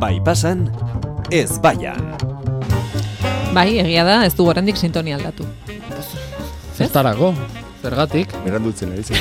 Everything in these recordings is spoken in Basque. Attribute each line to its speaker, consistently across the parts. Speaker 1: Bai pasan, ez baian.
Speaker 2: Bai, egia da, ez du oraindik sintonia aldatu.
Speaker 3: Zertarako? Zergatik?
Speaker 4: Berandutzen ari zen.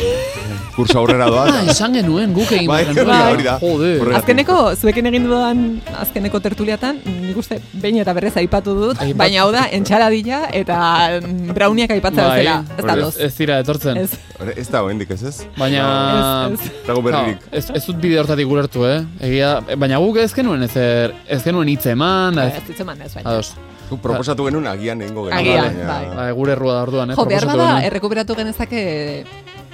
Speaker 4: Kursa aurrera doa.
Speaker 3: Ah, esan genuen guk egin
Speaker 4: Bai,
Speaker 3: behar genuela.
Speaker 4: bai, hori da.
Speaker 3: Jode.
Speaker 4: Horregatik.
Speaker 2: Azkeneko, zuekin egin dudan, azkeneko tertuliatan, nik uste, behin eta berrez aipatu dut,
Speaker 3: Aipat-
Speaker 2: baina hau da, entxaradila eta mm, browniak aipatzea
Speaker 3: Bai,
Speaker 2: bezala. Ez da
Speaker 4: hori
Speaker 2: doz.
Speaker 3: Ez dira etortzen.
Speaker 2: Ez,
Speaker 4: Hor- Ez da oendik, ez ez?
Speaker 3: Baina... Ah,
Speaker 2: ez, ez.
Speaker 4: Dago berririk.
Speaker 3: Claro, ez, ez dut bide hortatik ulertu, eh? Egia, baina guk ez genuen ezer, ez genuen hitz eman, da
Speaker 2: Ez
Speaker 3: ez,
Speaker 2: ditzeman ez bai. baina.
Speaker 3: ados.
Speaker 4: Zuk proposatu genuen agian nengo genuen. Bai,
Speaker 2: Agian,
Speaker 3: Ba, gure errua da orduan, eh?
Speaker 2: Jo, behar
Speaker 3: proposatu
Speaker 2: bada, er-
Speaker 3: genuen.
Speaker 2: errekuperatu genezake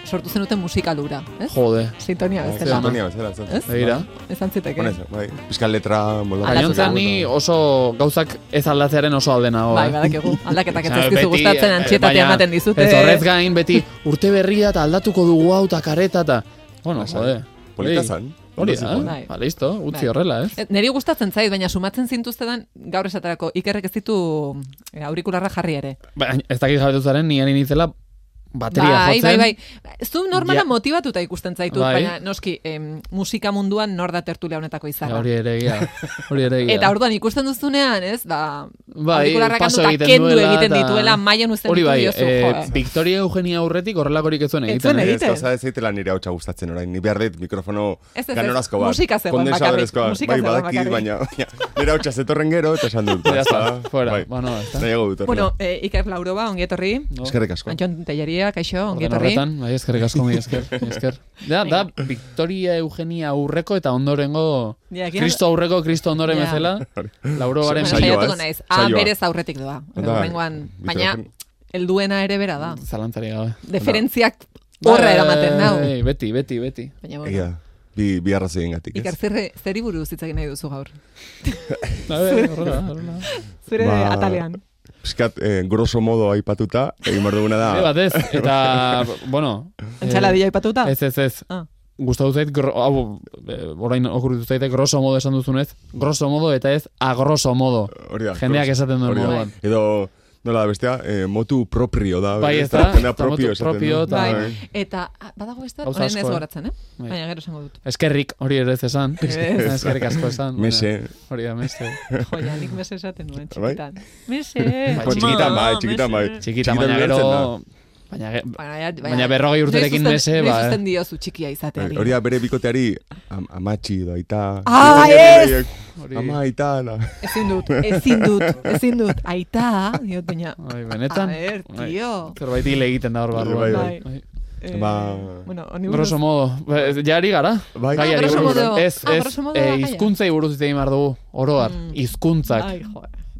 Speaker 2: sortu zenuten musikalura, ez?
Speaker 3: Jode,
Speaker 2: Sintonia
Speaker 3: Bai, Ez,
Speaker 2: bezala.
Speaker 3: ama.
Speaker 4: Antonia bezala, zen.
Speaker 2: Ez?
Speaker 3: begira.
Speaker 2: Ezan ziteke.
Speaker 4: Honez, bai. Piskan letra moldatu.
Speaker 3: Gainontzean ni oso gauzak ez aldatzearen oso aldena
Speaker 2: Bai,
Speaker 3: nago. eh?
Speaker 2: badakigu. Aldaketak ez
Speaker 3: Osea,
Speaker 2: ezkizu
Speaker 3: beti,
Speaker 2: gustatzen
Speaker 3: eh,
Speaker 2: antxietatea
Speaker 3: baina
Speaker 2: ematen dizute.
Speaker 3: Ez horrez gain, beti urte berria eta aldatuko dugu hau eta kareta eta... Bueno,
Speaker 4: Lasai.
Speaker 3: jode.
Speaker 4: Bai,
Speaker 3: Bai.
Speaker 4: Polita
Speaker 3: Ei,
Speaker 4: zan.
Speaker 3: Hori
Speaker 4: Ondo
Speaker 3: da,
Speaker 4: zihoan.
Speaker 2: Bai.
Speaker 3: ba, listo, utzi
Speaker 2: Bai.
Speaker 3: horrela, ez?
Speaker 2: Eh, Neri gustatzen zait, baina sumatzen zintuztedan gaur esaterako ikerrek ez ditu eh, aurikularra jarri ere.
Speaker 3: Baina Ba, ez dakit jabetu zaren, ni ari nintzela bateria
Speaker 2: bai,
Speaker 3: jotzen.
Speaker 2: bai, bai. Zu normala
Speaker 3: Ja.
Speaker 2: motibatuta ikusten zaitu,
Speaker 3: Bai.
Speaker 2: baina noski em, musika munduan nor da tertulia honetako
Speaker 3: Ja,
Speaker 2: izarra.
Speaker 3: Hori ere egia, hori ere egia.
Speaker 2: Eta orduan ikusten duzunean, ez, ba,
Speaker 3: Bai,
Speaker 2: aurikularrak
Speaker 3: paso
Speaker 2: handu eta
Speaker 3: egiten
Speaker 2: kendu
Speaker 3: duela
Speaker 2: egiten
Speaker 3: eta-
Speaker 2: dituela, mailan uzten
Speaker 3: Hori
Speaker 2: ditu
Speaker 3: bai,
Speaker 2: diozu,
Speaker 3: eh,
Speaker 2: jo.
Speaker 3: Victoria Eugenia aurretik horrelakorik ez zuen
Speaker 2: Ez
Speaker 3: egiten.
Speaker 2: zuen
Speaker 3: eh?
Speaker 2: egiten.
Speaker 4: Ez gauza ez zaitela nire hautsa gustatzen orain, ni behar dut mikrofono
Speaker 2: Ez, ez, ez.
Speaker 4: ganorazko bat.
Speaker 2: Musika zegoen
Speaker 4: kondensadorezkoa.
Speaker 2: bakarrik, musika
Speaker 4: Bai,
Speaker 2: zegoen bakarrik.
Speaker 4: badakit, baina baina nire hautsa zetorren gero, eta esan dut.
Speaker 3: Ya está,
Speaker 4: basta.
Speaker 3: fuera.
Speaker 4: Bai.
Speaker 3: Bueno, ez da.
Speaker 4: Nahiago dut. horrela.
Speaker 2: Bueno, eh, Iker Lauroba, ongietorri.
Speaker 3: No.
Speaker 4: Eskerrik asko.
Speaker 2: Antxon Telleria, kaixo,
Speaker 3: Orden
Speaker 2: ongietorri.
Speaker 3: horretan, bai, eskerrik asko, mi esker, mi esker. Da, da, Victoria Eugenia aurreko eta ondorengo,
Speaker 2: Ja, egia-
Speaker 3: Kristo aurreko, Kristo ondoren
Speaker 2: Ja.
Speaker 3: bezala, lauro garen
Speaker 2: Bueno,
Speaker 4: Saioa,
Speaker 2: saiatuko
Speaker 4: ez?
Speaker 2: naiz. A,
Speaker 4: Saioa.
Speaker 2: berez aurretik doa.
Speaker 4: Onda,
Speaker 2: Horrengoan, baina
Speaker 4: mikrofon-
Speaker 2: helduena ere bera da.
Speaker 3: zalantzari gabe.
Speaker 2: Deferentziak
Speaker 3: Bai,
Speaker 2: horra eramaten nau.
Speaker 3: Ei, Beti, beti, beti.
Speaker 2: Baina,
Speaker 4: Egia,
Speaker 2: bueno,
Speaker 4: da. bi, bi arrazoien gatik,
Speaker 2: Iker,
Speaker 4: ez?
Speaker 2: zerre, zeri buruz hitz egin nahi duzu gaur?
Speaker 3: Da, be, horrela, horrela.
Speaker 2: Zure
Speaker 4: Ba,
Speaker 2: atalean.
Speaker 4: Piskat, eh, grosso modo aipatuta, egin behar duguna
Speaker 3: Bide
Speaker 4: da.
Speaker 3: batez, eta, bueno... eh,
Speaker 2: Antxaladilla aipatuta?
Speaker 3: Ez, ez, ez.
Speaker 2: Ah.
Speaker 3: Gustatu zait, gro, hau, eh, orain okurritu zaite, grosso modo esan duzunez, grosso modo eta ez agrosso modo.
Speaker 4: Hori da.
Speaker 3: Jendeak
Speaker 4: grosso-
Speaker 3: esaten duen
Speaker 4: hori da.
Speaker 3: moduan.
Speaker 4: Edo, nola da bestea, eh, motu proprio da.
Speaker 3: Bai,
Speaker 4: ez
Speaker 3: ez da,
Speaker 4: Jendea
Speaker 3: eta motu
Speaker 4: propio esaten
Speaker 3: propio
Speaker 4: du.
Speaker 3: eta-
Speaker 2: Bai. Eta, ah, badago beste, bat,
Speaker 3: Gauza
Speaker 2: orain ez
Speaker 3: asko, eh?
Speaker 2: goratzen, eh?
Speaker 3: Bai.
Speaker 2: Baina gero esango dut.
Speaker 3: Eskerrik, hori ere ez esan.
Speaker 2: Ez.
Speaker 3: Eskerrik asko esan. baina-
Speaker 4: Mese.
Speaker 3: Hori da, mese.
Speaker 2: Joia, nik mese esaten nuen,
Speaker 4: Bai.
Speaker 2: txikitan. Mese!
Speaker 3: Bai,
Speaker 4: txikitan bai,
Speaker 2: Ma,
Speaker 4: txikitan bai.
Speaker 2: mese.
Speaker 3: Txikita,
Speaker 4: Txikitan
Speaker 3: baina gero...
Speaker 4: bihurtzen da.
Speaker 3: Baina, ge-
Speaker 2: Baina,
Speaker 3: Baina berrogei urterekin
Speaker 2: noiz uzten-
Speaker 3: mese, ba,
Speaker 2: Noiz
Speaker 3: eh.
Speaker 2: uzten diozu txikia izateari.
Speaker 4: Bai, Hori da bere bikoteari am, amatxi edo aita.
Speaker 2: Ah, ez!
Speaker 3: eh, Hori-
Speaker 4: Ama aita, na.
Speaker 2: Ezin dut, ezin dut, ezin dut. Aita, diot, baina...
Speaker 3: Bai, benetan.
Speaker 2: A ver,
Speaker 3: Bai.
Speaker 2: tío.
Speaker 3: Zerbait hile egiten da hor barruan. Bai.
Speaker 4: Bai,
Speaker 2: bai. Eh,
Speaker 4: Ba-
Speaker 2: Bueno, honi buruz...
Speaker 3: Grosso modo, ba, ja ari gara.
Speaker 4: Bai.
Speaker 3: Gaiari
Speaker 2: Ah, grosso
Speaker 3: buruz.
Speaker 2: modo.
Speaker 3: Ez,
Speaker 2: Ah,
Speaker 3: ez,
Speaker 2: grosso modo da
Speaker 3: eh,
Speaker 2: gaia.
Speaker 3: hizkuntzei buruz hitz egin behar dugu, oro har,
Speaker 2: Mm.
Speaker 3: hizkuntzak.
Speaker 2: Ai, jo,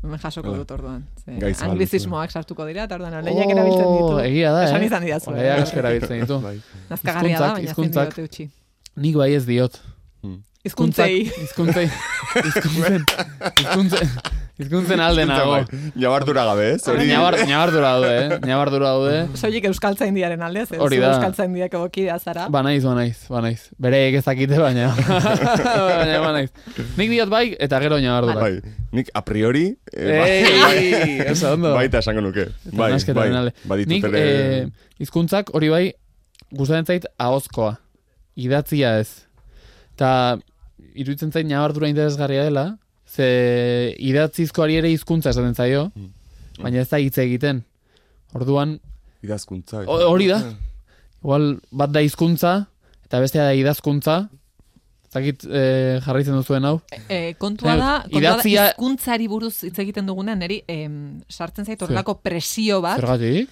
Speaker 2: hemen
Speaker 3: Bai.
Speaker 2: jasoko dut orduan. Ze,
Speaker 4: Gai zabal,
Speaker 2: Anglizismoak sartuko dira, eta orduan oleiak erabiltzen ditu.
Speaker 3: Oh, Egia da, eh?
Speaker 2: Esan izan didazu. eh?
Speaker 3: Oleiak asko erabiltzen ditu.
Speaker 4: Bai.
Speaker 2: Nazkagarria da, baina
Speaker 3: hizkuntzak,
Speaker 2: ezin
Speaker 3: hizkuntzak.
Speaker 2: diote utzi.
Speaker 3: Nik bai ez diot. Hmm.
Speaker 2: Hizkuntzei.
Speaker 3: Hizkuntzei. Hizkuntzen. Hizkuntzen. Hizkuntzen alde nago.
Speaker 4: Jabardura bai. gabe, ez? Hori.
Speaker 3: Ñabar, ñabardura daude, eh? Ñabardura daude.
Speaker 2: Soilik euskaltzain diaren aldez, ez?
Speaker 3: Hori
Speaker 2: Zu
Speaker 3: da.
Speaker 2: Euskaltzain diak egokidea zara.
Speaker 3: Ba naiz, ba naiz, ba naiz. Bereek ez dakite baina. baina ba naiz. Nik diot bai eta gero ñabardura.
Speaker 4: Bai, nik a priori... Eh,
Speaker 3: Ei, oso ondo.
Speaker 4: Baita esango nuke. Bai, bai.
Speaker 3: Nahasketaren alde.
Speaker 4: Baditut
Speaker 3: Nik
Speaker 4: ere-
Speaker 3: eh, hizkuntzak hori bai gustatzen zait ahozkoa. Idatzia ez. Ta iruditzen zait nabardura interesgarria dela, ze idatzizkoari ere hizkuntza esaten zaio,
Speaker 4: Mm.
Speaker 3: baina ez da hitz egiten. Orduan
Speaker 4: Idazkuntza.
Speaker 3: ho- hori da. Igual bat da hizkuntza eta bestea da idazkuntza. Ez dakit eh, jarraitzen duzuen hau.
Speaker 2: Eh, kontua da, kontua da,
Speaker 3: Idatzia-
Speaker 2: hizkuntzari buruz hitz egiten dugunean, neri em, sartzen zait horrelako presio bat,
Speaker 3: Zergatik?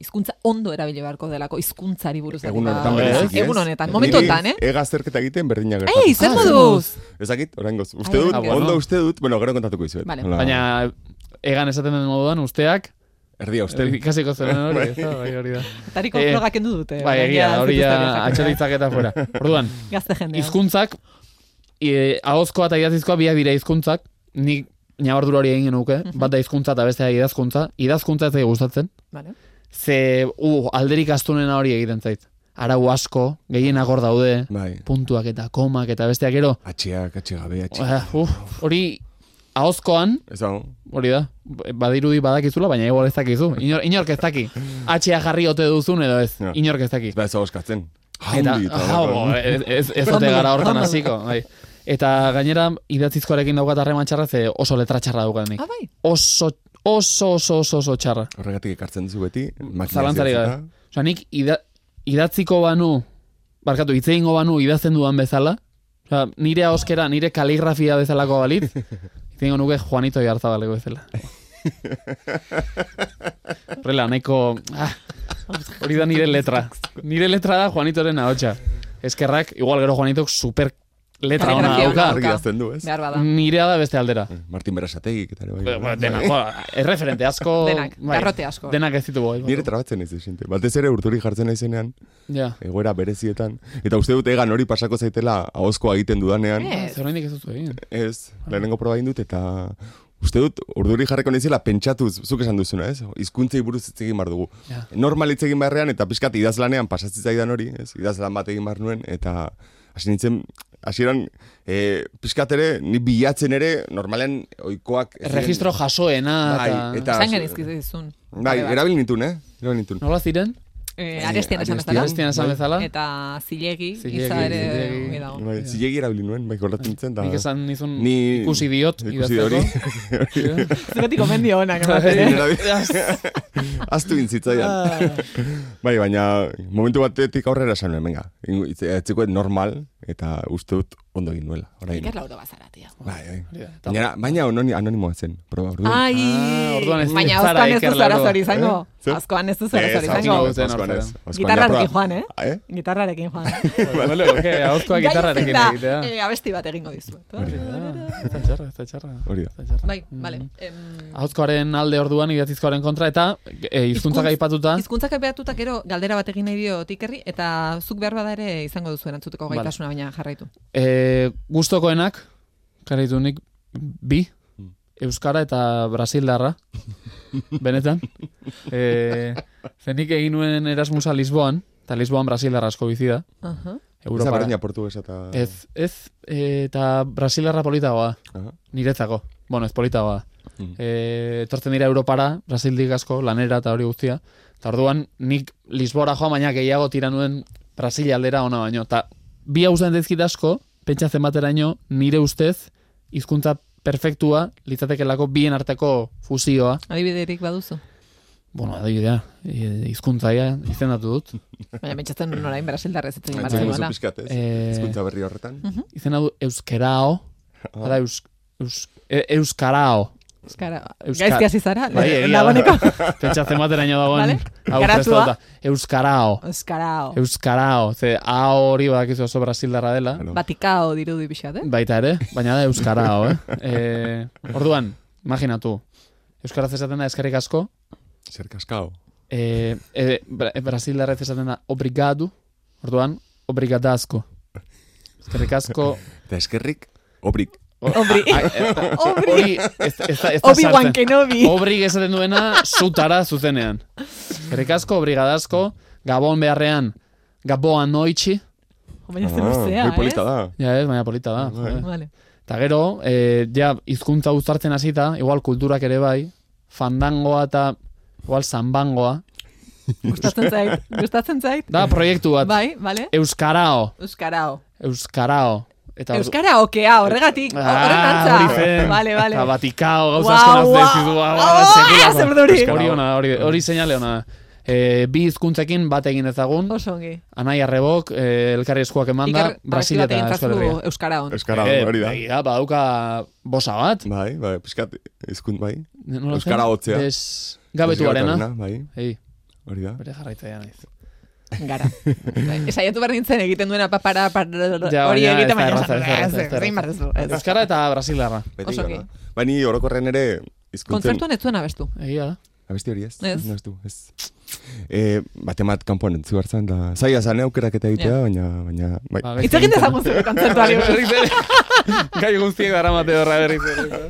Speaker 2: hizkuntza ondo erabili beharko delako, hizkuntzari buruz. ari
Speaker 4: Egun
Speaker 2: da.
Speaker 4: honetan
Speaker 3: Ba,
Speaker 4: bereziki, ez?
Speaker 2: Egun honetan, momentu
Speaker 4: Niri
Speaker 2: honetan, eh?
Speaker 4: Ega azterketa egiten berdina gertatu.
Speaker 2: Ei, zer
Speaker 3: Ah,
Speaker 2: moduz?
Speaker 4: Ezakit, oraingoz. Uste
Speaker 2: Ai,
Speaker 4: dut,
Speaker 3: ah, bueno.
Speaker 4: ondo uste dut, bueno, gero kontatuko izuet.
Speaker 2: Vale.
Speaker 4: Hola.
Speaker 3: Baina egan esaten den moduan usteak eh,
Speaker 4: Erdia uste.
Speaker 3: ikasiko zen hori, ez da, bai, hori da.
Speaker 2: Tariko
Speaker 3: Eh,
Speaker 2: frogak endu dute.
Speaker 3: Bai,
Speaker 2: orain
Speaker 3: egia, da, hori ja
Speaker 2: zituzten ezak-
Speaker 3: atxalitzak eta fuera. Orduan,
Speaker 2: Gazte jendea.
Speaker 3: hizkuntzak e, ahozkoa eta idatzizkoa biak dira hizkuntzak, nik nabardura hori egin genuke, bat da hizkuntza eta bestea idazkuntza. Idazkuntza ez zait gustatzen,
Speaker 2: Vale.
Speaker 3: ze uh, alderik astunena hori egiten zait. Arau asko, gehienak hor daude,
Speaker 4: Bai.
Speaker 3: puntuak eta komak eta besteak gero.
Speaker 4: Atxeak, atxe gabe, atxe.
Speaker 3: Ah, uf, hori ahozkoan,
Speaker 4: Ez dago.
Speaker 3: hori da, badirudi badakizula, baina igual ez dakizu. Inor, inork ez daki. Atxea jarri ote duzun edo ez,
Speaker 4: Ja.
Speaker 3: inork ez daki.
Speaker 4: Ez ba, ez dago eskatzen.
Speaker 3: Eta, Ah,
Speaker 4: Haundi,
Speaker 3: hau, ez, ez, ez ote gara hortan hasiko. Bai. Eta gainera idatzizkoarekin daukat harreman txarra, ze oso letra txarra daukat nik.
Speaker 2: Ah, bai.
Speaker 3: Oso, oso, oso, oso, oso txarra.
Speaker 4: Horregatik ekartzen duzu beti. makinaz
Speaker 3: Zalantzari gabe.
Speaker 4: idatzita.
Speaker 3: Osa, nik ida, idatziko banu, barkatu, hitz egingo banu idazten dudan bezala, osa, nire ahoskera, nire kaligrafia bezalako balitz, hitz egingo nuke Juanito Iarzabaleko bezala. Rela, nahiko... Ah, hori da nire letra. Nire letra da Juanitoren ahotsa. Eskerrak, igual gero Juanitok super letra ona
Speaker 2: Kaligrafia ona
Speaker 3: dauka.
Speaker 4: Ah, Argi idazten du, ez? Eh,
Speaker 2: Behar bada.
Speaker 3: Nirea da beste aldera.
Speaker 4: Martin Berasategik eta ere
Speaker 3: Ba,
Speaker 4: bai.
Speaker 3: Denak, ba, erreferente asko...
Speaker 2: Denak,
Speaker 3: bai,
Speaker 2: garrote asko.
Speaker 3: Denak ez ditugu. eh, aipatu.
Speaker 4: Nire trabatzen ez desente. Batez ere urturi jartzen naizenean,
Speaker 3: Ja.
Speaker 4: egoera berezietan. Eta uste dut egan hori pasako zaitela ahozkoa egiten dudanean.
Speaker 2: Eh. Ez.
Speaker 3: Ez horrendik Ah, ez duzu egin.
Speaker 4: Ez, lehenengo proba egin dut eta uste dut urduri jarreko naizela pentsatuz, zuk esan duzuna, ez? Hizkuntzei buruz hitz egin bar dugu.
Speaker 3: Ja.
Speaker 4: Normal hitz egin beharrean eta pixkat idazlanean pasazitzaidan hori, ez? Idazlan bat egin behar nuen eta hasi nintzen hasieran e, pixkat ere ni bilatzen ere normalean ohikoak ez ziren-
Speaker 3: Registro jasoena
Speaker 4: Bai,
Speaker 3: eta...
Speaker 4: eta-
Speaker 2: Zain genizkizun.
Speaker 4: Bai, erabil nitun, eh? Erabil nitun.
Speaker 3: Nola ziren?
Speaker 2: Eh, arestian esan bezala.
Speaker 4: Arestian.
Speaker 3: Bestian esan
Speaker 4: Bai.
Speaker 3: bezala.
Speaker 2: Eta zilegi,
Speaker 3: Bai, Zilegi,
Speaker 2: giza ere
Speaker 3: zilegi.
Speaker 2: ongi dago.
Speaker 4: Bai, zilegi erabili nuen, bai, gordatzen zen, da...
Speaker 3: Nik esan nizun
Speaker 4: Ni-
Speaker 3: ikusi diot
Speaker 4: ikusi da hori.
Speaker 3: idazteko.
Speaker 2: Zergatik omendio honak,
Speaker 3: ematen,
Speaker 2: ematen.
Speaker 3: eh?
Speaker 4: Aztu intzitzaidan.
Speaker 3: Ah,
Speaker 4: Bai, baina momentu batetik aurrera esan nuen, venga, ingo- itz- etzekoet normal, eta uste dut ondo egin nuela. Orain.
Speaker 2: Iker lauro bazara, tio.
Speaker 4: Bai, bai.
Speaker 3: Hori da.
Speaker 4: Baina, baina anoni, anonimoa zen, proba, orduan.
Speaker 2: Ai,
Speaker 3: Ah, orduan ez
Speaker 2: baina
Speaker 3: zara
Speaker 2: azkoan ez
Speaker 3: Iker
Speaker 2: du zara
Speaker 3: Lauro.
Speaker 2: zori izango.
Speaker 4: Eh? Zer?
Speaker 2: Azkoan ez du zara zori
Speaker 3: azkoan
Speaker 2: izango.
Speaker 3: ez.
Speaker 4: Azkoan ez.
Speaker 2: Gitarrarekin joan, eh?
Speaker 4: Ah, eh?
Speaker 2: Gitarrarekin joan.
Speaker 3: Bale, oke, ahozkoa gitarrarekin
Speaker 2: Gai ezin
Speaker 3: egitea.
Speaker 2: da, eh, abesti bat egingo dizuet.
Speaker 4: Hori
Speaker 3: Ah, Ez da txarra, ez da txarra.
Speaker 4: Hori da.
Speaker 3: ez da txarra.
Speaker 2: Bai, bale. Em,
Speaker 3: Ahozkoaren alde orduan idatzizkoaren kontra eta e, hizkuntza
Speaker 2: Hizkuntz-
Speaker 3: gaipatuta.
Speaker 2: Hizkuntzak aipatuta gero galdera bat egin nahi dio tikerri eta zuk behar bada ere izango duzu erantzuteko
Speaker 3: Bale.
Speaker 2: gaitasuna baina jarraitu.
Speaker 3: E, gustokoenak, karritu nik bi, Euskara eta Brasildarra, benetan. E, zenik egin nuen Erasmusa Lisboan, eta Lisboan Brasildarra asko bizi da.
Speaker 2: Aha.
Speaker 4: Ez da
Speaker 3: Europara.
Speaker 4: berdina portuguesa eta...
Speaker 3: Ez, ez, e, eta Brasilarra politagoa,
Speaker 4: Aha.
Speaker 3: niretzako. Bueno, ez politagoa.
Speaker 4: Mhm.
Speaker 3: E, tortzen dira Europara, Brasildik asko, lanera eta hori guztia. Eta orduan, nik Lisbora joa, baina gehiago tira nuen Brasilia aldera ona baino. Eta bi hausen dezkit asko, pentsatzen bateraino, nire ustez, hizkuntza perfektua, litzatekelako bien arteko fusioa.
Speaker 2: Adibiderik baduzu.
Speaker 3: Bueno, adibidea, e, hizkuntzaia izendatu dut.
Speaker 2: Baina pentsatzen norain brasildarrez ez egin
Speaker 4: Entzun
Speaker 2: bartzen
Speaker 4: duzu pixkat, ez?
Speaker 3: Eh.
Speaker 4: Hizkuntza Ah. berri horretan.
Speaker 3: Izena du Eh, Euskerao, eta eus, eus, e, Euskarao.
Speaker 2: Euskara,
Speaker 3: Euskara.
Speaker 2: gaizki hasi zara,
Speaker 3: Bai, egia
Speaker 2: dagoeneko.
Speaker 3: da. Pentsatzen bateraino dagoen.
Speaker 2: Vale.
Speaker 3: hau
Speaker 2: Garatua. Oh.
Speaker 3: prestatuta. Euskarao.
Speaker 2: Euskarao.
Speaker 3: Euskarao. Ze, a hori badakizu oso brasildarra dela.
Speaker 4: Claro.
Speaker 2: Batikao dirudi pixat, eh?
Speaker 3: Baita ere, baina da Euskarao, eh? E, orduan, imaginatu. Euskaraz esaten da eskerrik asko.
Speaker 4: Zer kaskao.
Speaker 3: E, e, bra, e, brasildarrez esaten da obrigado. Orduan, obrigadazko. Eskerrik asko.
Speaker 4: Eta eskerrik, obrik.
Speaker 2: Obri.
Speaker 3: A- e-
Speaker 2: Obri.
Speaker 3: Hori, ez, ez, da- ez da
Speaker 2: Obi-Wan
Speaker 3: sartzen. Oh.
Speaker 2: Kenobi.
Speaker 3: Obrig esaten duena zutara zuzenean. Eskerrik asko, brigadazko, gabon beharrean, gaboan noitxi.
Speaker 2: Baina zer
Speaker 4: Ah,
Speaker 2: luzea,
Speaker 4: Bai, polita
Speaker 2: ez?
Speaker 4: da.
Speaker 3: Ja ez, baina polita da. joder.
Speaker 2: Vale.
Speaker 3: Eta gero, e, ja, hizkuntza uztartzen hasita, igual kulturak ere bai, fandangoa eta igual zambangoa.
Speaker 2: Gustatzen zait. Gustatzen zait.
Speaker 3: Da proiektu bat. Eh.
Speaker 2: Bai, vale?
Speaker 3: Euskarao,
Speaker 2: Euskarao.
Speaker 3: Euskarao. Eta ordu-
Speaker 2: Euskara okea, horregatik. Horren
Speaker 3: Ah, hori
Speaker 2: antza.
Speaker 3: zen.
Speaker 2: Vale, vale.
Speaker 3: Eta batikao, gauza
Speaker 2: Guau,
Speaker 3: asko nazte
Speaker 2: guau.
Speaker 3: dizu, guau, guau,
Speaker 2: Oh,
Speaker 3: sekulako.
Speaker 2: ez erduri.
Speaker 3: Hori ona, hori, hori seinale ona. E, bi hizkuntzekin bat egin ezagun,
Speaker 2: Oso ongi.
Speaker 3: anai arrebok, e, elkarri eskuak emanda,
Speaker 2: Iker,
Speaker 3: Brasil eta Euskal Herria.
Speaker 2: Euskara on.
Speaker 4: Euskara,
Speaker 3: Eh,
Speaker 4: hori da.
Speaker 3: Egia, badauka bosa bat.
Speaker 4: Bai, bai, pixkat, hizkunt bai.
Speaker 3: Nola zen?
Speaker 4: Euskara hotzea.
Speaker 3: Des... Gabetu arena.
Speaker 4: Bai,
Speaker 3: Ei,
Speaker 4: hori da.
Speaker 3: bere jarraitzaia naiz.
Speaker 2: Gara. Esaiatu behar nintzen egiten duena papara par,
Speaker 3: Ja,
Speaker 2: hori
Speaker 3: baina ez
Speaker 2: egiten
Speaker 3: da
Speaker 2: baina.
Speaker 3: erraza, ez da erraza,
Speaker 2: esan,
Speaker 3: ez da
Speaker 2: Zein behar duzu, ez.
Speaker 3: Euskara eta brasilarra.
Speaker 4: Beti
Speaker 2: Oso
Speaker 4: gara.
Speaker 2: ongi.
Speaker 4: Ba, ni orokorren ere hizkuntzen
Speaker 2: Kontzertuan ez zuen abestu.
Speaker 3: Egia da.
Speaker 4: Abesti hori ez?
Speaker 2: Ez.
Speaker 4: No, ez du, ez. E, batemat kanpoan entzu hartzen da. Zaila zan aukeraketa
Speaker 2: Ja.
Speaker 4: egitea, baina, baina, bai.
Speaker 3: Ba,
Speaker 2: Itz egin dezagun zure kontzertuari. buruz.
Speaker 3: Bai, Berriz ere. Gai guztiek dara mate horra berriz ere.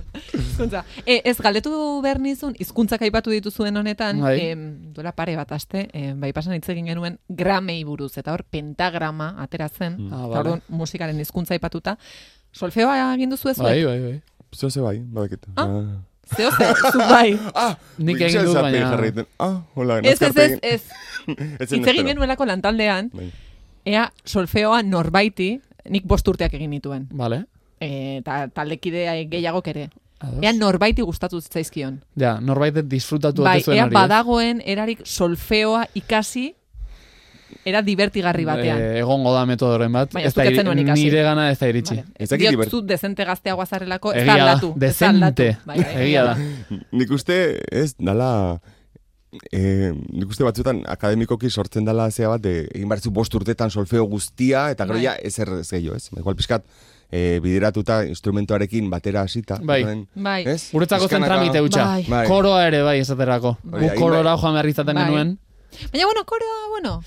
Speaker 2: Hizkuntza. E, ez galdetu behar nizun, hizkuntzak aipatu dituzuen honetan,
Speaker 3: Bai.
Speaker 2: em, duela pare bat aste, em, bai pasan hitz egin genuen gramei buruz, eta hor pentagrama ateratzen, mm.
Speaker 3: Ah,
Speaker 2: eta
Speaker 3: bale.
Speaker 2: orduan musikaren hizkuntza aipatuta. Solfeoa egin duzu ez?
Speaker 3: Bai, bai, bai.
Speaker 4: Zeo ze bai, badakit.
Speaker 2: Ah.
Speaker 4: Ah.
Speaker 2: Zeo ze, zu bai.
Speaker 4: Ah,
Speaker 3: Nik
Speaker 4: Wilson
Speaker 3: egin dut,
Speaker 4: Zappi
Speaker 3: baina-
Speaker 4: jarraiten. Ah, hola,
Speaker 2: Ez, ez, ez,
Speaker 4: nazkarpegin.
Speaker 2: ez.
Speaker 4: Ez zen
Speaker 2: Hitz egin
Speaker 4: espero.
Speaker 2: genuelako lantaldean,
Speaker 4: Bai.
Speaker 2: ea solfeoa norbaiti, nik bost urteak egin nituen.
Speaker 3: Vale.
Speaker 2: e, eta taldekide gehiagok ere.
Speaker 3: Ados.
Speaker 2: Ea norbaiti gustatu zitzaizkion.
Speaker 3: Ja, norbait disfrutatu
Speaker 2: Bai,
Speaker 3: ote zuen
Speaker 2: ea
Speaker 3: hori, eh? ez?
Speaker 2: badagoen erarik solfeoa ikasi era divertigarri batean.
Speaker 3: Eh, egongo da metodoren bat.
Speaker 2: Baina
Speaker 3: Bai, ez da
Speaker 2: zuk ez
Speaker 3: iri-
Speaker 2: zenuen ikasi.
Speaker 3: Nire gana ez da iritsi.
Speaker 2: Vale.
Speaker 4: Ez
Speaker 2: Ez
Speaker 4: dakit
Speaker 2: diot
Speaker 4: liber-
Speaker 2: zu dezente gazteagoa zarelako, ez da
Speaker 3: Egia da,
Speaker 2: aldatu. ez da aldatu.
Speaker 3: dezente.
Speaker 2: Bai, bai,
Speaker 3: Egia da.
Speaker 4: Nik uste, ez, dala... E, nik uste batzuetan akademikoki sortzen dela zea bat, de, egin behar zu bost urtetan solfeo guztia, eta gero
Speaker 2: Bai.
Speaker 4: ja ezer ez gehiago, ez? Igual pixkat, e, bideratuta instrumentoarekin batera hasita.
Speaker 3: Bai.
Speaker 4: Horren,
Speaker 2: Bai.
Speaker 4: ez?
Speaker 3: Guretzako zen
Speaker 4: Pixkanaka-
Speaker 3: tramite hutsa.
Speaker 2: Bai.
Speaker 4: Bai.
Speaker 3: Koroa ere bai esaterako.
Speaker 4: Bai,
Speaker 3: Gu
Speaker 4: hainbat-
Speaker 3: korora joan behar izaten
Speaker 2: Bai.
Speaker 3: genuen.
Speaker 2: Baina, bueno, koroa, bueno.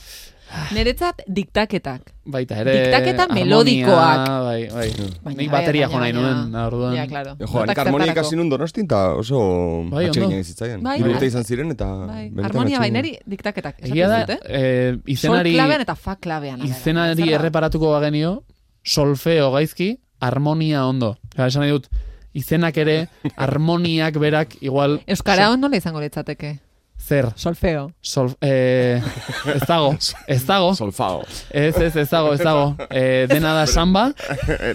Speaker 2: Neretzat diktaketak.
Speaker 3: Baita ere...
Speaker 2: Diktaketa
Speaker 3: harmonia,
Speaker 2: melodikoak.
Speaker 3: Bai, bai.
Speaker 2: Baina,
Speaker 3: Nik
Speaker 2: a ber,
Speaker 3: bateria jo
Speaker 2: baina,
Speaker 3: nahi
Speaker 2: baina-
Speaker 3: nuen, orduan.
Speaker 2: Ja, claro.
Speaker 4: Jo, nik
Speaker 2: Notak
Speaker 4: harmonia
Speaker 2: zertarako.
Speaker 4: ikasi nun donostin, eta oso
Speaker 3: Bai,
Speaker 4: bai,
Speaker 3: ondo.
Speaker 4: atxegin zitzaien.
Speaker 2: Bai,
Speaker 4: Hiru
Speaker 2: bai.
Speaker 4: urte izan ziren, eta...
Speaker 2: Bai,
Speaker 4: benetan
Speaker 2: harmonia
Speaker 4: atxegin.
Speaker 2: bainari diktaketak.
Speaker 3: Egia
Speaker 2: esaten
Speaker 3: da,
Speaker 2: dut, eh?
Speaker 3: eh, izenari,
Speaker 2: Sol klabean eta fa klabean. ala da.
Speaker 3: izenari
Speaker 2: Zer da?
Speaker 3: erreparatuko bagenio, solfeo gaizki, harmonia ondo. Gara, esan nahi dut, izenak ere, harmoniak berak igual...
Speaker 2: Euskara hon nola izango litzateke?
Speaker 3: Zer?
Speaker 2: Solfeo.
Speaker 3: Sol, eh, ez dago, ez dago,
Speaker 4: Solfao.
Speaker 3: ez, ez, ez dago, ez dago. Eh, dena da samba,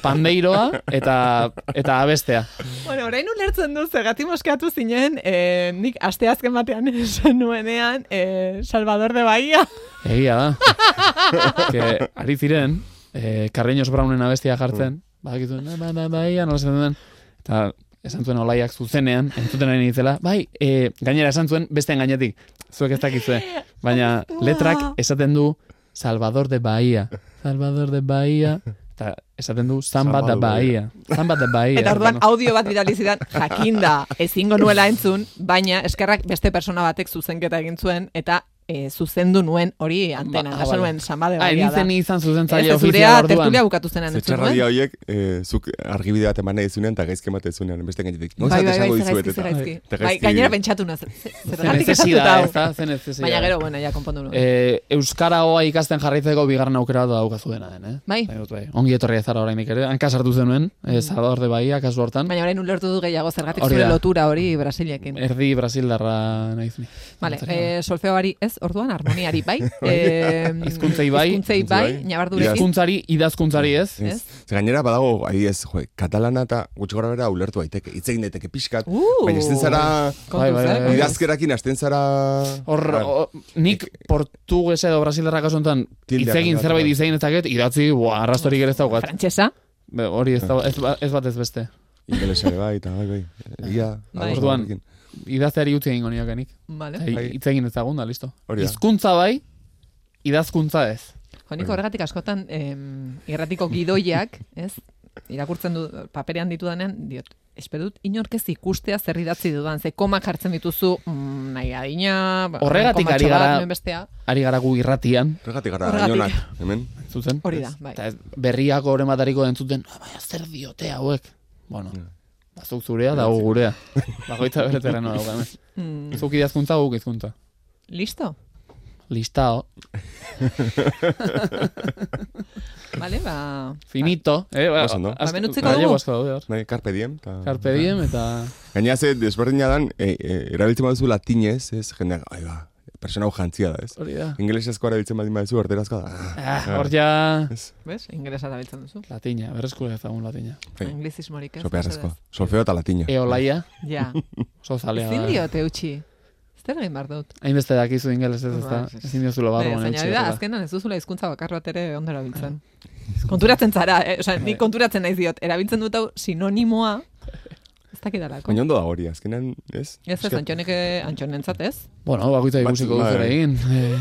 Speaker 3: pandeiroa eta, eta abestea.
Speaker 2: Bueno, orain ulertzen du, zergatik moskeatu zinen, eh, nik asteazken batean esan nuenean, eh, Salvador de Bahia.
Speaker 3: Egia da. que, ari ziren, eh, Carreños Brownen abestia jartzen, badakizuen, "Na, ba, ba, ba, ia", nola esaten den. Eta esan zuen olaiak zuzenean, entzuten ari nintzela, bai, eh, gainera esan zuen besteen gainetik, zuek ez dakizue. Baina letrak esaten du Salvador de Bahia. Salvador de Bahia. Eta esaten du Samba
Speaker 4: Samba
Speaker 3: da
Speaker 4: de
Speaker 3: Bahia. Samba da Bahia.
Speaker 2: Eta orduan
Speaker 3: Bueno,
Speaker 2: audio bat bidali zidan, jakinda, ezingo nuela entzun, baina eskerrak beste persona batek zuzenketa egin zuen, eta eh, zuzendu nuen hori antena,
Speaker 3: Ba,
Speaker 2: ba,
Speaker 3: ah, vale.
Speaker 2: nuen, samba de
Speaker 3: Ah,
Speaker 2: Bahia da.
Speaker 3: nintzen ni izan zuzentzaile
Speaker 2: Ez, zurea
Speaker 3: ofiziala orduan.
Speaker 2: tertulia bukatu zenan
Speaker 4: Ze
Speaker 2: entzun
Speaker 4: txarra
Speaker 2: nuen.
Speaker 4: dia horiek, eh, zuk argibide bat eman nahi zunean, eta gaizke emate zunean, beste gainetik.
Speaker 2: Bai,
Speaker 4: "Gauzak
Speaker 2: bai, bai,
Speaker 4: esango
Speaker 2: zergaizki,
Speaker 4: dizuet", eta-
Speaker 2: zergaizki.
Speaker 4: eta
Speaker 2: Bai,
Speaker 4: gaizki-
Speaker 2: gainera pentsatu naz, zergatik esatu
Speaker 3: Necesidad,
Speaker 2: da.
Speaker 3: ezta? Ze necesidad.
Speaker 2: Baina gero, bueno, ja, konpondu nuen.
Speaker 3: E, Euskara hoa ikasten jarraitzeko bigarren aukera bat daukazu dena den, eh?
Speaker 2: Bai.
Speaker 3: Nahi dut, bai. Ongi etorri ezara oraindik ere. Hanka sartu zenuen, eh, Salvador de Bahia kasu hortan.
Speaker 2: Baina orain ulertu du gehiago zergatik
Speaker 3: Hori
Speaker 2: zure
Speaker 3: da.
Speaker 2: lotura hori Brasilekin.
Speaker 3: Erdi Brasildarra naiz ni.
Speaker 2: Vale,
Speaker 3: Antzera.
Speaker 2: eh, solfeoari ez, orduan harmoniari bai. eh,
Speaker 3: Hizkuntzei bai.
Speaker 2: Hizkuntzei bai,
Speaker 4: Hizkuntzei bai.
Speaker 2: nabardurekin.
Speaker 3: Hizkuntzari, idazkuntzari ez.
Speaker 4: Ez. Ze Gainera badago, adibidez, jo, katalana eta gutxi gora bera ulertu daiteke. Hitz egin daiteke pixkat,
Speaker 2: Uh!
Speaker 4: baina ezten zara
Speaker 3: Bai,
Speaker 2: Kontuz,
Speaker 3: bai,
Speaker 2: eh?
Speaker 3: bai.
Speaker 4: idazkerakin hasten zara
Speaker 3: Hor,
Speaker 4: Bar,
Speaker 3: hor- nik portugesa edo brasildarra kasu honetan
Speaker 4: Tildeak
Speaker 3: hitz egin
Speaker 4: aldatu
Speaker 3: zerbait
Speaker 4: bai.
Speaker 3: dizein eta get, idatzi, buah, arrastorik ere ez daukat.
Speaker 2: Frantsesa,
Speaker 3: Be, Hori ez,
Speaker 4: Bai.
Speaker 3: dago, ez, ba- ez bat ez beste.
Speaker 4: ingelesa ere bai, eta bai, bai. Egia,
Speaker 2: Bai.
Speaker 4: ados
Speaker 3: Orduan.
Speaker 4: horrekin.
Speaker 3: Idazteari utzi egingo niokenik.
Speaker 2: vale.
Speaker 4: Bai.
Speaker 3: Eta Hitz egin ez dagoen da, listo.
Speaker 4: Hori da.
Speaker 3: Hizkuntza bai, idazkuntza ez.
Speaker 2: Jonik horregatik askotan em, irratiko gidoiak, ez? Irakurtzen du paperean ditudanean diot. Espero dut inork ez ikustea zer idatzi dudan, ze komak jartzen dituzu, mm, nahi adina, ba,
Speaker 3: Horregatik
Speaker 2: komatxo
Speaker 3: ari
Speaker 2: bat,
Speaker 3: gara-
Speaker 2: hemen bestea.
Speaker 3: Ari gara gu irratian,
Speaker 4: Horregatik gara,
Speaker 2: Horregatik.
Speaker 4: gainonak, hemen.
Speaker 3: zuzen.
Speaker 2: Hori da, bai.
Speaker 3: Eta ez- berriako oren batariko entzuten, "Ah, baina zer diote hauek. Bueno,
Speaker 4: Mm.
Speaker 3: bazuk zurea da gu gurea. Bakoitza bere terreno dauka hemen.
Speaker 2: Mm,
Speaker 3: Zuk idazkuntza, guk hizkuntza.
Speaker 2: listo?
Speaker 3: Listao,
Speaker 2: Vale, ba...
Speaker 3: finito. Eh, ba,
Speaker 4: Ah. Oso ondo.
Speaker 3: asko-
Speaker 2: Hemen utziko
Speaker 3: gallego
Speaker 2: dugu?
Speaker 3: asko daude hor.
Speaker 4: Bai, Carpe diem. Ta,
Speaker 3: Carpe diem eta...
Speaker 4: Gainera ze, desberdina dan, e, e, erabiltzen baduzu latinez, ez, jendeak, ai ba, persona hau jantzia da, ez?
Speaker 3: Hori da.
Speaker 4: Ingelesezko erabiltzen baldin baduzu, erderazkoa da.
Speaker 3: Ah, Hor ja...
Speaker 4: Ez,
Speaker 2: Bez? Ingresa erabiltzen duzu.
Speaker 3: Latina, berreskura ez dagoen latina.
Speaker 4: Bai.
Speaker 2: Anglizismorik ez.
Speaker 4: sopearrezkoa.
Speaker 2: mesedez.
Speaker 4: Solfeo eta latina.
Speaker 3: Eolaia,
Speaker 2: Ja.
Speaker 3: oso zalea
Speaker 2: Ezin
Speaker 3: da.
Speaker 2: diote utxi. Zer egin behar dut.
Speaker 3: Hainbeste dakizu ingeles ez ez da.
Speaker 2: Ba, ez, ez.
Speaker 3: Ezin diozula barruan
Speaker 2: Baina,
Speaker 3: eutsi.
Speaker 2: da,
Speaker 3: horrela.
Speaker 2: azkenan ez duzula hizkuntza bakar bat ere ondo erabiltzen. Konturatzen zara, eh? Osa, nik konturatzen naiz diot. Erabiltzen dut hau sinonimoa, ez dakidalako.
Speaker 4: Baina ondo da hori, azkenan, ez?
Speaker 2: Ez ez, antxonek antxonentzat ez?
Speaker 3: Bueno, bakoitza
Speaker 4: Batzuk
Speaker 3: ikusiko dut
Speaker 4: bai.
Speaker 3: zer egin. Eh,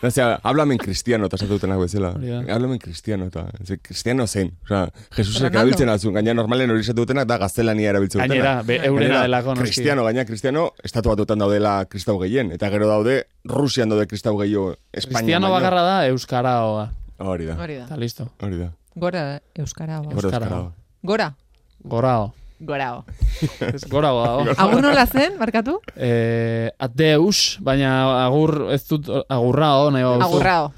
Speaker 4: O sea, háblame en cristiano, eta esatu dutenak bezala.
Speaker 3: Hori da.
Speaker 4: Háblame en cristiano, eta ze, cristiano zen. O sea, Jesusek
Speaker 2: Ronaldo.
Speaker 4: erabiltzen azun, gaina normalen hori esatu dutenak da gaztelania erabiltzen dutenak.
Speaker 3: Gainera, be- eurena
Speaker 4: Gainera,
Speaker 3: delako. noski.
Speaker 4: Cristiano, gaina cristiano, estatu batutan daudela kristau gehien. Eta gero daude, Rusian daude kristau gehiago, Espainian.
Speaker 3: Cristiano
Speaker 4: baino.
Speaker 3: bakarra da Euskara hoa.
Speaker 4: Hori da,
Speaker 2: Hori da.
Speaker 3: Eta listo.
Speaker 4: hori da.
Speaker 2: Gora euskara. Ba.
Speaker 4: Gora
Speaker 3: Euskara.
Speaker 4: euskara.
Speaker 2: Gora.
Speaker 3: Gorao.
Speaker 2: Gorao.
Speaker 3: Ez Gorago dago.
Speaker 2: Agur nola zen, markatu?
Speaker 3: Eh, adeus, baina agur ez dut agurrao nahi baduzu.
Speaker 2: Agurrao.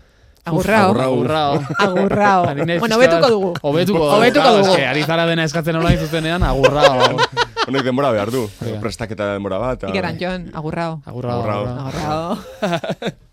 Speaker 2: Agurrao.
Speaker 4: agurrao.
Speaker 3: Agurrao. Ba,
Speaker 2: Agurrao.
Speaker 3: Ari naiz
Speaker 2: Bueno,
Speaker 3: pixka bat-
Speaker 2: betuko dugu.
Speaker 3: Hobetuko dugu.
Speaker 2: Hobetuko
Speaker 3: Claro,
Speaker 2: dugu.
Speaker 3: eske, ari zara dena eskatzen orain zuzenean, agurrao.
Speaker 4: Honek denbora behar du.
Speaker 3: Hori da. bai.
Speaker 4: Prestaketa denbora bat. eta-
Speaker 2: Iker Antxon, agurrao.
Speaker 3: Agurrao.
Speaker 4: Agurrao.
Speaker 3: agurrao.
Speaker 2: Agurrao.